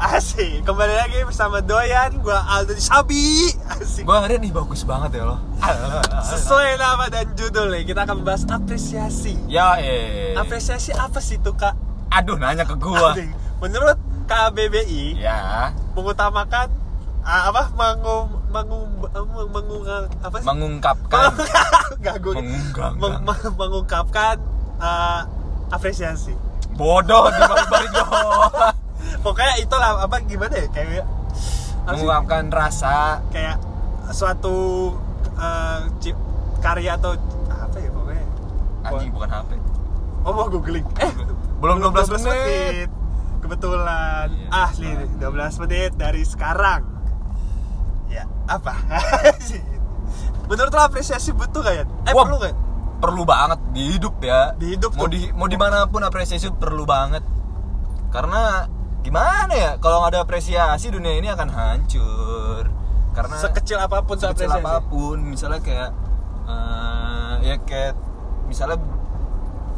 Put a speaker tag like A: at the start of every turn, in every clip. A: Asik, kembali lagi bersama Doyan, gua Aldo Sabi Asik
B: Gue ngeliat nih bagus banget ya lo
A: Sesuai nama dan judulnya, kita akan bahas apresiasi
B: Ya eh
A: Apresiasi apa sih tuh kak?
B: Aduh nanya ke gua
A: Asik. Menurut KBBI,
B: Ya
A: mengutamakan ah, apa mengu mengu mengu, mengu- apa sih?
B: Mengungkapkan
A: Nggak, gua-
B: Mengunggang-
A: meng- meng- mengungkapkan ah, apresiasi.
B: Bodoh dibalik-balik doang
A: Pokoknya itulah apa gimana ya kayak apa sih?
B: Mengungkapkan rasa
A: kayak suatu eh, ci- karya atau apa ya pokoknya
B: Anjing bukan HP
A: oh mau googling eh
B: Belum 12 menit.
A: kebetulan Ah,
B: Iya,
A: ahli nih, 12 menit dari sekarang ya apa menurut lo apresiasi butuh gak ya? eh
B: Wah.
A: perlu gak?
B: Perlu banget di hidup ya
A: Di hidup
B: Mau,
A: tuh.
B: di, mau dimanapun apresiasi perlu banget Karena gimana ya Kalau nggak ada apresiasi dunia ini akan hancur Karena
A: sekecil apapun tuh
B: sekecil
A: apresiasi
B: apapun misalnya kayak eh, ya kayak misalnya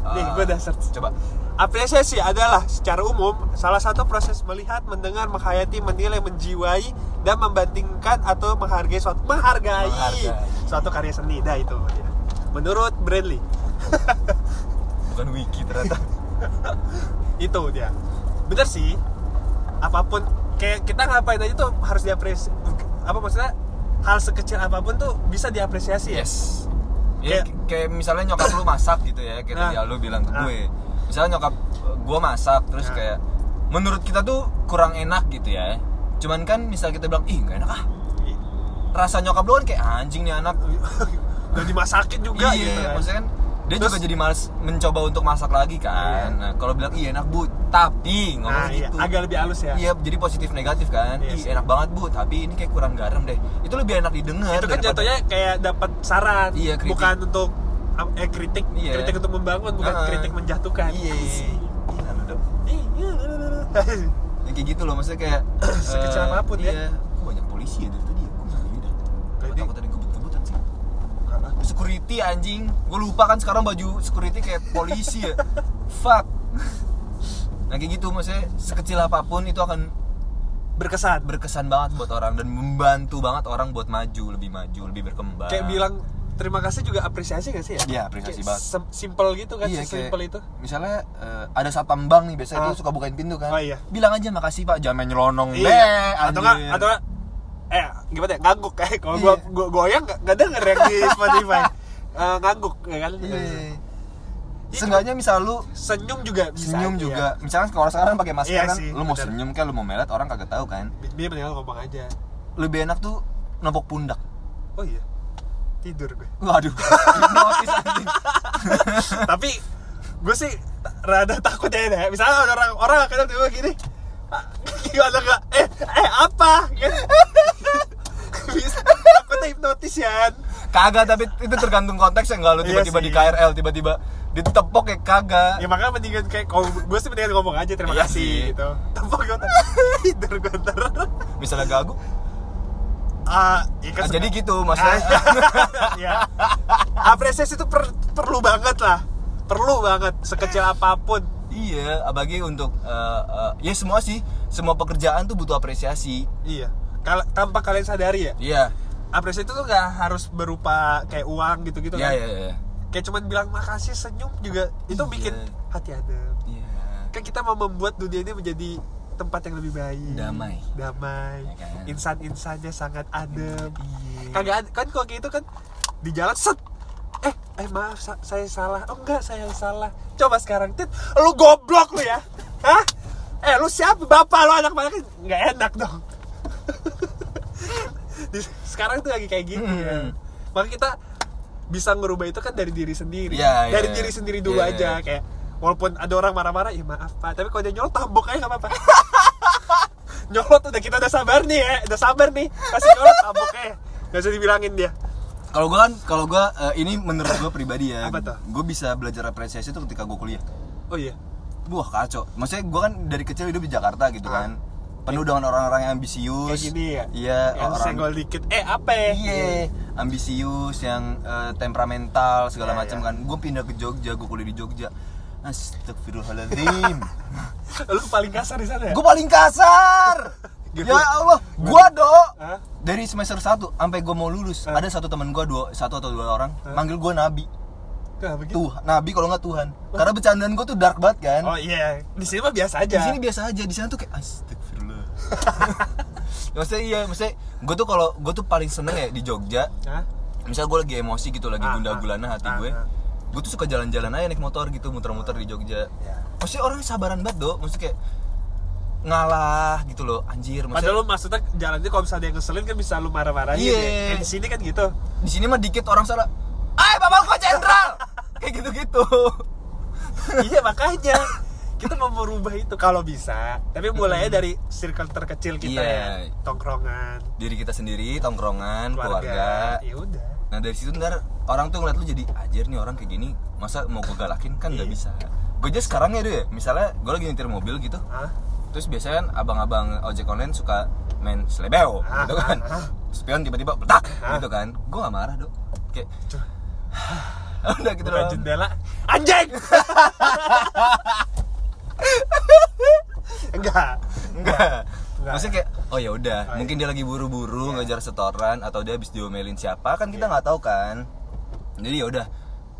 B: eh,
A: Nih, gua udah search.
B: coba
A: apresiasi adalah secara umum salah satu proses melihat mendengar menghayati menilai menjiwai dan membandingkan atau menghargai suatu menghargai,
B: Menghargai.
A: suatu karya seni dah itu ya. menurut Bradley
B: bukan wiki ternyata
A: itu dia bener sih apapun kayak kita ngapain aja tuh harus diapresiasi apa maksudnya hal sekecil apapun tuh bisa diapresiasi ya
B: yes ya,
A: Kayak-
B: kayak, kayak misalnya nyokap lu masak gitu ya kayak tadi
A: Nah.
B: lu bilang ke
A: Nah.
B: gue misalnya nyokap gue masak terus
A: Nah.
B: kayak menurut kita tuh kurang enak gitu ya cuman kan misal kita bilang ih gak enak ah rasa nyokap lu kan kayak anjing nih anak
A: udah dimasakin juga
B: iya,
A: gitu kan.
B: maksudnya kan dia
A: Terus-
B: juga jadi males mencoba untuk masak lagi kan.
A: Iya.
B: Nah, kalau bilang iya enak bu, tapi ngomong
A: nah, iya,
B: gitu.
A: agak lebih halus ya
B: Iya, jadi positif negatif kan.
A: Iya
B: Ih,
A: sih.
B: enak banget bu, tapi ini kayak kurang garam deh. Itu lebih enak didengar.
A: itu kan
B: daripada-
A: jatuhnya kayak dapat saran
B: Iya, kritik.
A: bukan untuk eh kritik
B: Iya.
A: kritik untuk membangun bukan
B: Heeh.
A: kritik menjatuhkan
B: Iya. Gila lu, Dok.
A: Iya.
B: Ya, kayak gitu loh, maksudnya kayak
A: Sekecil
B: eh,
A: apapun ya.
B: Iya, kok banyak polisi ya dari tadi ya. Kok nggak ada? Apa
A: Jadi-
B: takut ada yang kebut-kebutan sih? Security anjing, gue lupa kan sekarang baju security kayak polisi ya. Fuck. Nah kayak gitu maksudnya sekecil apapun itu akan
A: berkesan
B: berkesan banget buat orang dan membantu banget orang buat maju lebih maju lebih berkembang
A: kayak bilang terima kasih juga apresiasi gak sih ya
B: Ah. Iya, apresiasi
A: Kayak
B: banget.
A: sem- simple gitu kan
B: Iya, kayak-
A: simple itu
B: misalnya eh, ada satpam bank nih biasanya
A: Ah.
B: itu suka bukain pintu kan
A: Oh, iya.
B: bilang aja makasih pak jangan main nyelonong
A: atau nggak atau nggak, eh gimana ya ngangguk eh kalau gua,
B: Iya.
A: gua goyang nggak nggak denger yang di Spotify Eh, ngangguk ya kan
B: Iya. Seenggaknya misal lu
A: senyum juga Iya. bisa
B: senyum
A: iya.
B: juga misalnya kalau sekarang pakai masker
A: Iya
B: kan
A: sih,
B: lu mau
A: bener.
B: senyum kan lu mau melet orang kagak tahu kan
A: dia mendingan ngomong aja
B: lebih enak tuh nepok pundak
A: oh iya tidur gue
B: waduh hipnotis anjing
A: tapi gue sih ta- rada takut ya ini ya misalnya ada orang orang kadang tiba gini "Ah, gimana enggak eh eh apa Kan. bisa takutnya hipnotis ya
B: kagak tapi itu tergantung konteksnya enggak lu
A: Iya
B: tiba-tiba
A: sih.
B: di KRL tiba-tiba ditepok ya kagak
A: ya makanya mendingan kayak kalau gue sih mendingan ngomong aja terima
B: Iya
A: kasih
B: sih.
A: gitu tepuk gue tidur gue ntar
B: misalnya gagu
A: ah ya kan
B: Nah,
A: suka-
B: jadi gitu maksudnya
A: ya apresiasi itu per- perlu banget lah perlu banget sekecil apapun
B: iya apalagi untuk eh, eh, ya semua sih semua pekerjaan tuh butuh apresiasi
A: iya kalau tanpa kalian sadari ya
B: iya
A: apresiasi itu tuh gak harus berupa kayak uang gitu-gitu
B: iya
A: kan
B: iya iya
A: kayak cuman bilang makasih senyum juga itu
B: Iya.
A: bikin hati adem
B: Iya.
A: kan kita mau membuat dunia ini menjadi tempat yang lebih baik
B: Damai.
A: damai
B: Ya kan?
A: insan-insannya sangat adem
B: Iya.
A: kagak ad- kan kalau kayak itu kan di jalan set eh eh maaf sa- saya salah oh enggak saya yang salah coba sekarang tit lu goblok lu ya hah eh lu siapa bapak lu anak mana kan nggak enak dong Di- sekarang tuh lagi kayak gitu ya
B: Hmm.
A: maka kita bisa ngerubah itu kan dari diri sendiri
B: Iya, iya,
A: dari
B: iya.
A: diri sendiri dulu
B: Iya,
A: aja
B: iya.
A: kayak walaupun ada orang marah-marah ya maaf pak tapi kalau dia nyolot tambok aja nggak apa-apa nyolot udah kita udah sabar nih ya udah sabar nih kasih nyolot tambok aja nggak usah dibilangin dia
B: kalau gua kan kalau gua eh, ini menurut gua pribadi ya
A: Apa tuh?
B: gua bisa belajar apresiasi tuh ketika gua kuliah
A: oh iya
B: Wah kacau. Maksudnya gue kan dari kecil hidup di Jakarta gitu kan. Penuh dengan orang-orang yang ambisius.
A: Ah. kayak gini ya
B: Iya.
A: yang
B: orang.
A: senggol dikit eh apa ya
B: Iya. Ambisius yang eh, temperamental segala
A: Iya,
B: macam
A: iya.
B: kan. Gue pindah ke Jogja, gue kuliah di Jogja. Astagfirullahaladzim
A: lu paling kasar di sana ya?
B: Gue paling kasar
A: Gitu.
B: Ya Allah Gue do
A: Hah?
B: Dari semester 1 Sampai gue mau lulus
A: Hah?
B: Ada satu temen gue dua, Satu atau dua orang
A: Hah?
B: Manggil gue Nabi
A: Kenapa gitu?
B: Tuh Nabi kalau nggak Tuhan Karena bercandaan gue tuh dark banget kan
A: Oh iya, di sini mah biasa aja.
B: di sini biasa aja di sana tuh kayak astagfirullah Ya, maksudnya iya maksudnya gue tuh kalau gue tuh paling seneng ya di Jogja
A: Hah?
B: misal gue lagi emosi gitu lagi
A: Ah,
B: gundah gulana hati
A: ah,
B: gue
A: ah.
B: gue tuh suka jalan-jalan aja naik motor gitu muter-muter di Jogja
A: Ya.
B: maksudnya orangnya sabaran banget do maksudnya kayak ngalah gitu loh anjir maksudnya
A: Padahal lu maksudnya jalannya kalau misalnya ada yang ngeselin kan bisa lu marah-marahin.
B: Iya.
A: ya. Kayak di sini kan gitu.
B: di sini mah dikit orang salah ay bapak kok jenderal kayak gitu-gitu
A: iya makanya kita mau merubah itu kalau bisa. Tapi mulainya dari circle terkecil kita
B: Iya.
A: ya, tongkrongan,
B: diri kita sendiri tongkrongan
A: keluarga.
B: keluarga
A: Ya udah.
B: Nah dari situ ntar orang tuh ngeliat lu jadi ajar nih orang kayak gini Masa mau gue galakin kan gak
A: Iya.
B: bisa Gue aja sekarang ya deh Misalnya gue lagi nyetir mobil gitu
A: Hah?
B: Terus biasanya kan abang-abang ojek online suka main selebeo
A: Ah,
B: gitu kan
A: ah, ah.
B: Spion tiba-tiba petak
A: Ah.
B: gitu kan Gue gak marah dok Kayak
A: Cuk.
B: Udah gitu
A: Buka
B: doang
A: jendela. Anjing. Enggak.
B: Enggak
A: Enggak.
B: Maksudnya kayak oh ya udah
A: Oh,
B: mungkin dia lagi buru-buru ngejar setoran atau dia habis diomelin siapa kan kita
A: Iya.
B: nggak tahu kan jadi ya udah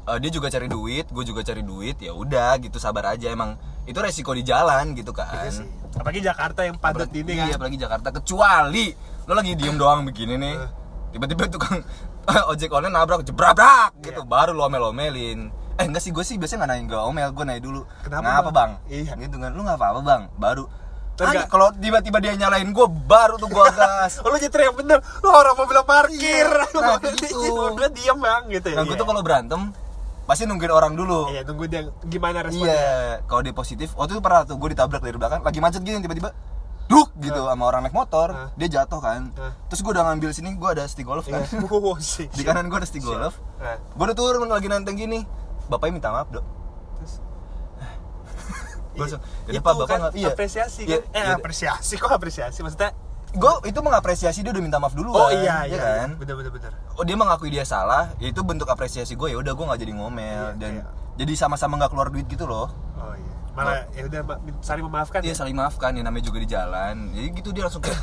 B: eh, dia juga cari duit gue juga cari duit ya udah gitu sabar aja emang itu resiko di jalan gitu kan
A: Iya sih. Apalagi Jakarta yang padat
B: Apalagi-
A: ini
B: iya,
A: kan.
B: apalagi Jakarta kecuali lo lagi diem doang begini nih
A: Eh.
B: tiba-tiba tukang ojek online nabrak jebrak
A: Iya.
B: gitu baru lo omel-omelin eh enggak sih gue sih biasanya nggak nanya nggak omel gue nanya dulu
A: Kenapa,
B: ngapa
A: Bang?"
B: bang,
A: Iya.
B: gitu kan lu nggak apa-apa bang baru
A: Terus
B: Ah,
A: nggak-
B: kalau tiba-tiba dia nyalain gue baru tuh gue gas
A: Oh, lu nyetir yang bener, lu orang mobil yang parkir
B: Iya,
A: Lu
B: nah,
A: mobil
B: gitu.
A: dingin, mobilnya diem bang gitu
B: nah gue
A: Iya.
B: tuh kalau berantem pasti nungguin orang dulu
A: Iya, tunggu dia gimana responnya
B: Iya, kalau dia positif, waktu itu pernah tuh gue ditabrak dari belakang, lagi macet gini tiba-tiba duk gitu
A: Eh.
B: sama orang naik motor,
A: Hah?
B: dia jatuh kan.
A: Hah?
B: Terus gue udah ngambil sini, gue ada stick golf kan.
A: Eh. Iya, wow sih
B: Di kanan gue ada stick golf.
A: Nah,
B: Gue udah turun lagi nanteng gini. Bapaknya minta maaf, Dok.
A: terus
B: Gue langsung,
A: itu
B: "Yaudah, Pak, Bapak
A: kan
B: nggak- iya."
A: apresiasi
B: Iya,
A: kan Eh,
B: iya.
A: apresiasi, kok apresiasi? Maksudnya
B: Gue itu mengapresiasi dia udah minta maaf dulu
A: Oh iya, iya,
B: ya kan?
A: iya. bener bener bener
B: Oh, dia mengakui dia salah, ya itu bentuk apresiasi gue ya udah gue nggak jadi
A: Iya,
B: ngomel dan
A: iya.
B: jadi sama-sama nggak keluar duit gitu loh.
A: Oh iya, malah ya udah Pak, saling memaafkan
B: Iya
A: ya
B: saling maafkan ya namanya juga di jalan. Jadi gitu dia langsung kayak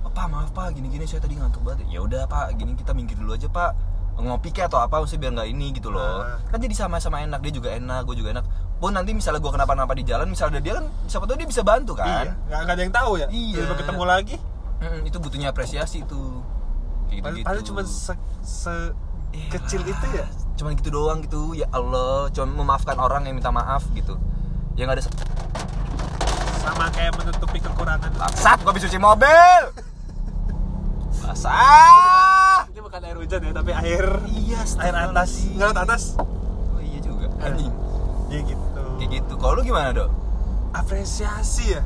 B: "Oh, Pak maaf Pak gini-gini saya tadi ngantuk banget. Ya udah Pak gini kita minggir dulu aja Pak ngopi kek atau apa maksudnya biar nggak ini gitu loh.
A: Ah.
B: Kan jadi sama-sama enak dia juga enak gue juga enak. Pun nanti misalnya gue kenapa-napa di jalan misalnya ada dia kan siapa tahu dia bisa bantu
A: Iya,
B: kan.
A: nggak nggak ada yang tahu ya
B: Iya.
A: Tiba-tiba ketemu lagi
B: Mm, itu butuhnya apresiasi tuh. Kayak gitu-gitu.
A: Padahal cuma se, se-
B: Iyalah,
A: kecil itu ya
B: Cuman gitu doang gitu. Ya Allah, cuman memaafkan orang yang minta maaf gitu. Yang ada
A: Sama kayak menutupi kekurangan
B: Bangsat, gua habis cuci mobil. Basah.
A: Ini bukan air hujan ya, tapi air
B: Iya,
A: air atas Nggak atas
B: Oh iya juga. Anjing.
A: Ya gitu
B: Kayak gitu. Kalau lu gimana, Dok?
A: apresiasi ya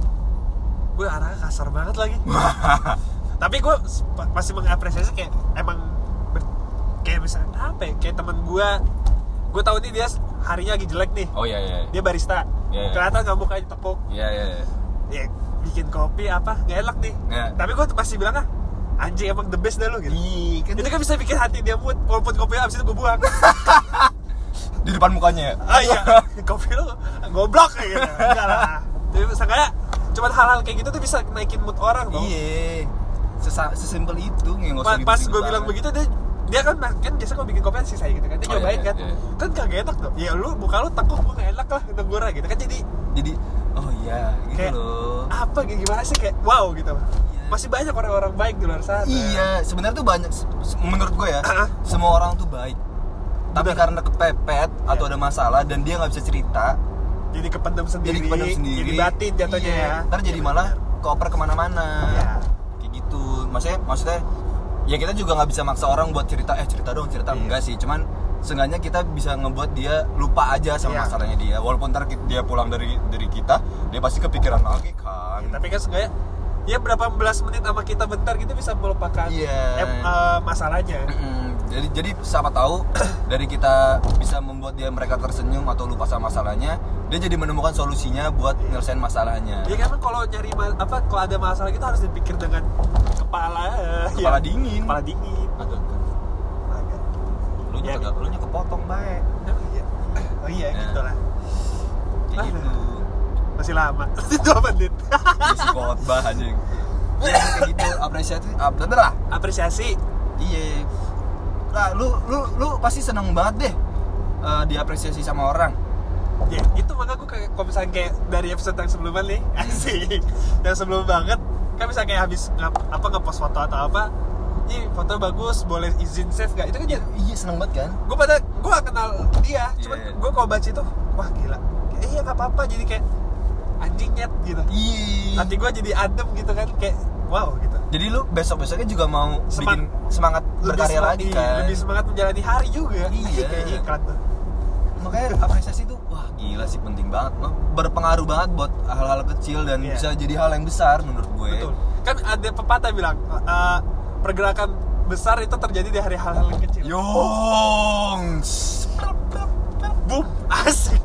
A: gue arahnya kasar banget lagi tapi gue sep- masih mengapresiasi kayak emang ber- kayak misalnya apa ya kayak teman gue gue tahu nih dia harinya lagi jelek nih
B: Oh iya iya.
A: dia barista
B: Iya, iya.
A: kelihatan nggak mukanya ditepuk
B: Iya iya. iya.
A: ya bikin kopi apa nggak enak nih
B: Iya.
A: tapi gue masih bilang ah anjing emang the best dah lo gitu
B: Ih, kan
A: itu kan bisa bikin hati dia mood walaupun kopinya abis itu gue buang
B: di depan mukanya ya.
A: ah iya kopi lu goblok kayak gitu enggak lah tapi seenggaknya cuman hal-hal kayak gitu tuh bisa naikin mood orang dong
B: Iya. Sesa- Sesimpel itu nggak usah
A: pas, pas
B: ribet-ribet
A: gue bilang
B: banget.
A: begitu dia dia kan kan biasa kalau bikin kopi sih saya gitu kan dia
B: Oh,
A: nyobain
B: iya,
A: kan
B: iya.
A: kan kagak enak tuh ya lu muka lu tekuk gue gak enak lah negur lah gitu kan jadi
B: Jadi oh iya gitu
A: Kayak-
B: loh.
A: apa gitu gimana sih kayak wow gitu
B: Iya.
A: masih banyak orang-orang baik di luar sana
B: Iya, sebenarnya tuh banyak se- se- menurut gue ya,
A: Ah.
B: semua orang tuh baik. Tapi
A: Bener.
B: karena kepepet atau
A: Iya.
B: ada masalah dan dia nggak bisa cerita,
A: jadi kependam sendiri
B: jadi kependam sendiri
A: jadi batin jatuhnya
B: Iya,
A: ya
B: ntar jadi malah koper kemana-mana
A: Iya.
B: kayak gitu maksudnya maksudnya ya kita juga nggak bisa maksa orang buat cerita eh cerita dong cerita
A: Iya.
B: enggak sih cuman seenggaknya kita bisa ngebuat dia lupa aja sama
A: Iya.
B: masalahnya dia walaupun ntar ki- dia pulang dari dari kita dia pasti kepikiran lagi kan
A: Ya, tapi kan seenggaknya ya berapa belas menit sama kita bentar gitu bisa melupakan
B: Iya.
A: em, eh, masalahnya
B: Mm-mm. jadi jadi siapa tahu dari kita bisa membuat dia mereka tersenyum atau lupa sama masalahnya dia jadi menemukan solusinya buat
A: Iya.
B: nyelesain masalahnya
A: Ya kan kalau nyari ma- apa kalau ada masalah gitu harus dipikir dengan kepala.
B: Kepala
A: ya.
B: dingin.
A: Kepala dingin.
B: Agak-
A: Agak.
B: lu nya
A: Iya.
B: agak- lu nya kepotong baik
A: Emang iya. Oh iya
B: Ya.
A: gitu lah.
B: kayak gitu
A: masih lama dua menit
B: Isi khotbah anjing Iya, kayak gitu apresiasi update lah
A: apresiasi
B: iya lah lu lu lu pasti seneng banget deh eh, diapresiasi sama orang
A: ya itu maka gue kayak kalau misalnya kayak dari episode yang sebelumnya nih asik yang sebelum banget kan misalnya kayak habis ngap- apa ngepost foto atau apa ini foto bagus boleh izin save nggak itu kan ya
B: iya seneng banget kan
A: gue pada gue gak kenal dia cuman
B: Iya.
A: gue kalau baca itu wah gila kayak, iya nggak apa-apa jadi kayak anjingnya gitu
B: iya
A: hati gue jadi adem gitu kan kayak wow gitu
B: jadi lu besok besoknya juga mau
A: Semang-
B: bikin semangat berkarya
A: semangat-
B: lagi
A: iya,
B: kan
A: lebih semangat menjalani hari juga
B: Iya.
A: kayak iklan tuh
B: makanya apresiasi itu wah gila sih penting banget Mak. berpengaruh banget buat hal-hal kecil dan
A: Iya.
B: bisa jadi hal yang besar menurut gue
A: betul kan ada pepatah bilang eh, pergerakan besar itu terjadi di hari hal-hal
B: Iya.
A: yang kecil
B: Yongs.
A: boom asik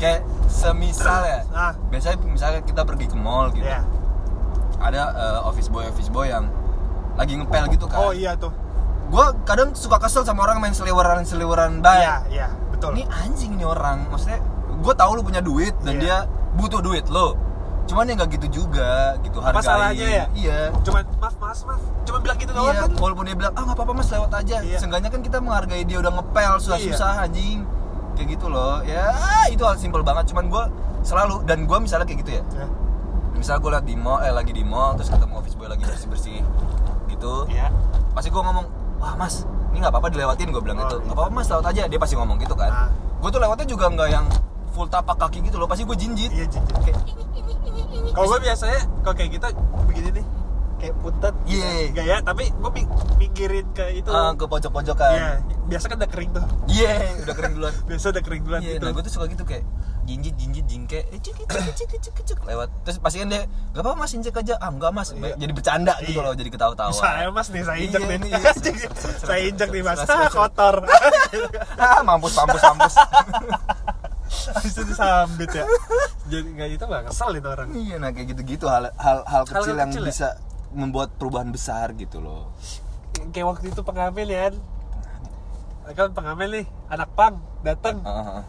B: kayak semisal ya
A: Ah.
B: biasanya misalnya kita pergi ke mall gitu
A: ya
B: ada eh, office boy office boy yang lagi ngepel gitu kan
A: oh iya tuh
B: gue kadang suka kesel sama orang main seliweran seliweran bay
A: iya iya betul
B: ini anjing nih orang maksudnya gue tahu lu punya duit dan
A: Iya.
B: dia butuh duit lo cuman ya nggak gitu juga gitu hargain
A: Masalahnya ya?
B: iya
A: cuman maaf mas maaf cuman bilang gitu doang
B: Iya,
A: kan
B: walaupun dia bilang ah nggak apa-apa mas lewat aja
A: Iya.
B: seenggaknya kan kita menghargai dia udah ngepel susah-susah anjing kayak gitu loh ya itu hal simpel banget cuman gue selalu dan gue misalnya kayak gitu ya
A: Ya.
B: misalnya gue liat di mall eh lagi di mall terus ketemu office boy lagi bersih-bersih gitu
A: iya
B: pasti gue ngomong wah mas ini nggak apa-apa dilewatin gue bilang
A: Oh,
B: gitu
A: iya.
B: nggak apa-apa mas lewat aja dia pasti ngomong gitu kan
A: Ah.
B: gue tuh lewatnya juga nggak yang full tapak kaki gitu loh pasti gue jinjit
A: iya jijik
B: Kayak,
A: kalau gue biasanya kalau kayak gitu begini nih kayak putet gitu.
B: Iya.
A: gaya tapi gue pinggirin ke itu
B: "Ah, ke pojok-pojok
A: Iya,
B: kan
A: biasa kan udah kering tuh.
B: iya udah kering duluan
A: Biasa udah kering duluan
B: Iya,
A: gitu.
B: nah gue tuh suka gitu kayak jinjit jinjit jingke eh, cik, cik, cik, cik, cik, cik, lewat terus pasti kan dia nggak apa mas injek aja ah nggak mas
A: Iya.
B: jadi bercanda gitu
A: Iya.
B: loh jadi ketawa-tawa
A: Saya mas nih, saya injek
B: Iya,
A: nih.
B: nih, iya.
A: saya injek nih mas.
B: Serat,
A: Ah,
B: serat, serat.
A: kotor.
B: ah mampus mampus mampus
A: Habis itu disambit ya. Jadi nggak itu nggak kesel itu orang.
B: iya nah kayak gitu-gitu hal hal hal kecil yang
A: kecil ya?
B: bisa membuat perubahan besar gitu loh
A: Kayak waktu itu pengamen ya. Kan pengamen nih, anak pang datang.
B: Heeh.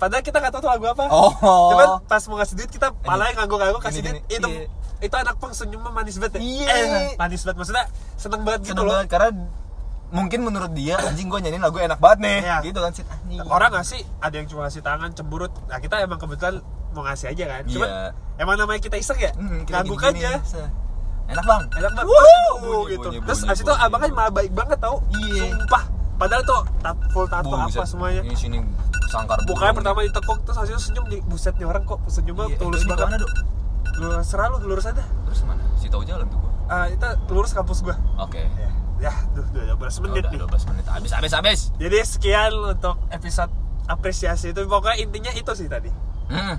A: Padahal kita nggak tahu tuh lagu apa.
B: Oh.
A: Cuman pas mau ngasih duit kita palanya ngangguk-ngangguk kasih duit.
B: Gini, gini.
A: Itu
B: Iya.
A: itu anak pang senyumnya manis banget ya.
B: Iya.
A: Eh, manis banget maksudnya seneng banget gitu
B: seneng
A: loh.
B: banget karena mungkin menurut dia anjing gue nyanyiin lagu enak banget nih
A: Iya.
B: gitu kan sih anjing
A: orang ngasih ada yang cuma ngasih tangan cemburut nah kita emang kebetulan mau ngasih aja kan cuman
B: Iya.
A: emang namanya kita iseng ya
B: Hmm, kita
A: ngangguk
B: gini-gini,
A: aja
B: se- enak bang
A: enak banget
B: Wuhu!
A: "Wuh,"
B: Bunyi,
A: gitu
B: bunyi,
A: terus
B: bunyi,
A: abis itu
B: bunyi.
A: abang kan malah baik banget tau
B: Iya.
A: sumpah padahal tuh tat- full tato
B: Bung,
A: apa
B: buset. Iya.
A: semuanya
B: ini sini sangkar
A: mukanya
B: burung.
A: pertama ditekuk terus hasilnya senyum di buset nih orang kok senyumnya
B: Iya, eh,
A: tulus
B: ini
A: banget
B: kemana, Dok?
A: lu serah lu lurus aja
B: terus mana si tahu jalan tuh gua
A: Ah, itu lurus kampus gua
B: oke
A: ya duh udah 12 menit nih
B: Iya. udah 12 menit habis habis habis
A: jadi sekian untuk episode apresiasi itu pokoknya intinya itu sih tadi
B: hmm.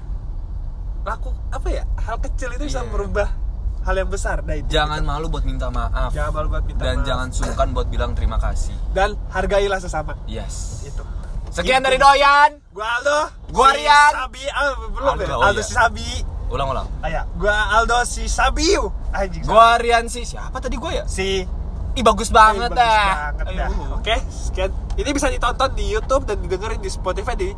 A: laku apa ya hal kecil itu bisa
B: Iya.
A: merubah hal yang besar nah itu
B: jangan malu buat minta maaf
A: jangan Iya, malu buat minta
B: dan
A: maaf.
B: jangan sungkan buat bilang terima kasih
A: dan hargailah sesama
B: yes
A: itu
B: sekian
A: Gitu.
B: dari doyan
A: gua Aldo
B: Gua
A: si
B: Rian.
A: Sabi ah, belum
B: Aldo,
A: ya
B: oh
A: Aldo
B: iya.
A: si Sabi
B: ulang ulang
A: ah, ya. gua Aldo si Sabiu anjing
B: gua Rian sih siapa tadi gua ya
A: si
B: ih bagus banget
A: Iya, Bagus
B: dah
A: banget
B: Ayo,
A: dah.
B: uhuh.
A: oke sekian ini bisa ditonton di YouTube dan didengerin di Spotify di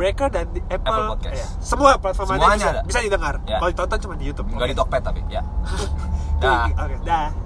A: Breaker dan di Apple,
B: Apple Podcast.
A: Iya. semua platform ada
B: Semuanya
A: bisa,
B: ada.
A: bisa didengar
B: Ya.
A: kalau ditonton cuma di YouTube
B: nggak di
A: Oke.
B: Tokped tapi ya
A: Oke,
B: dah
A: oke dah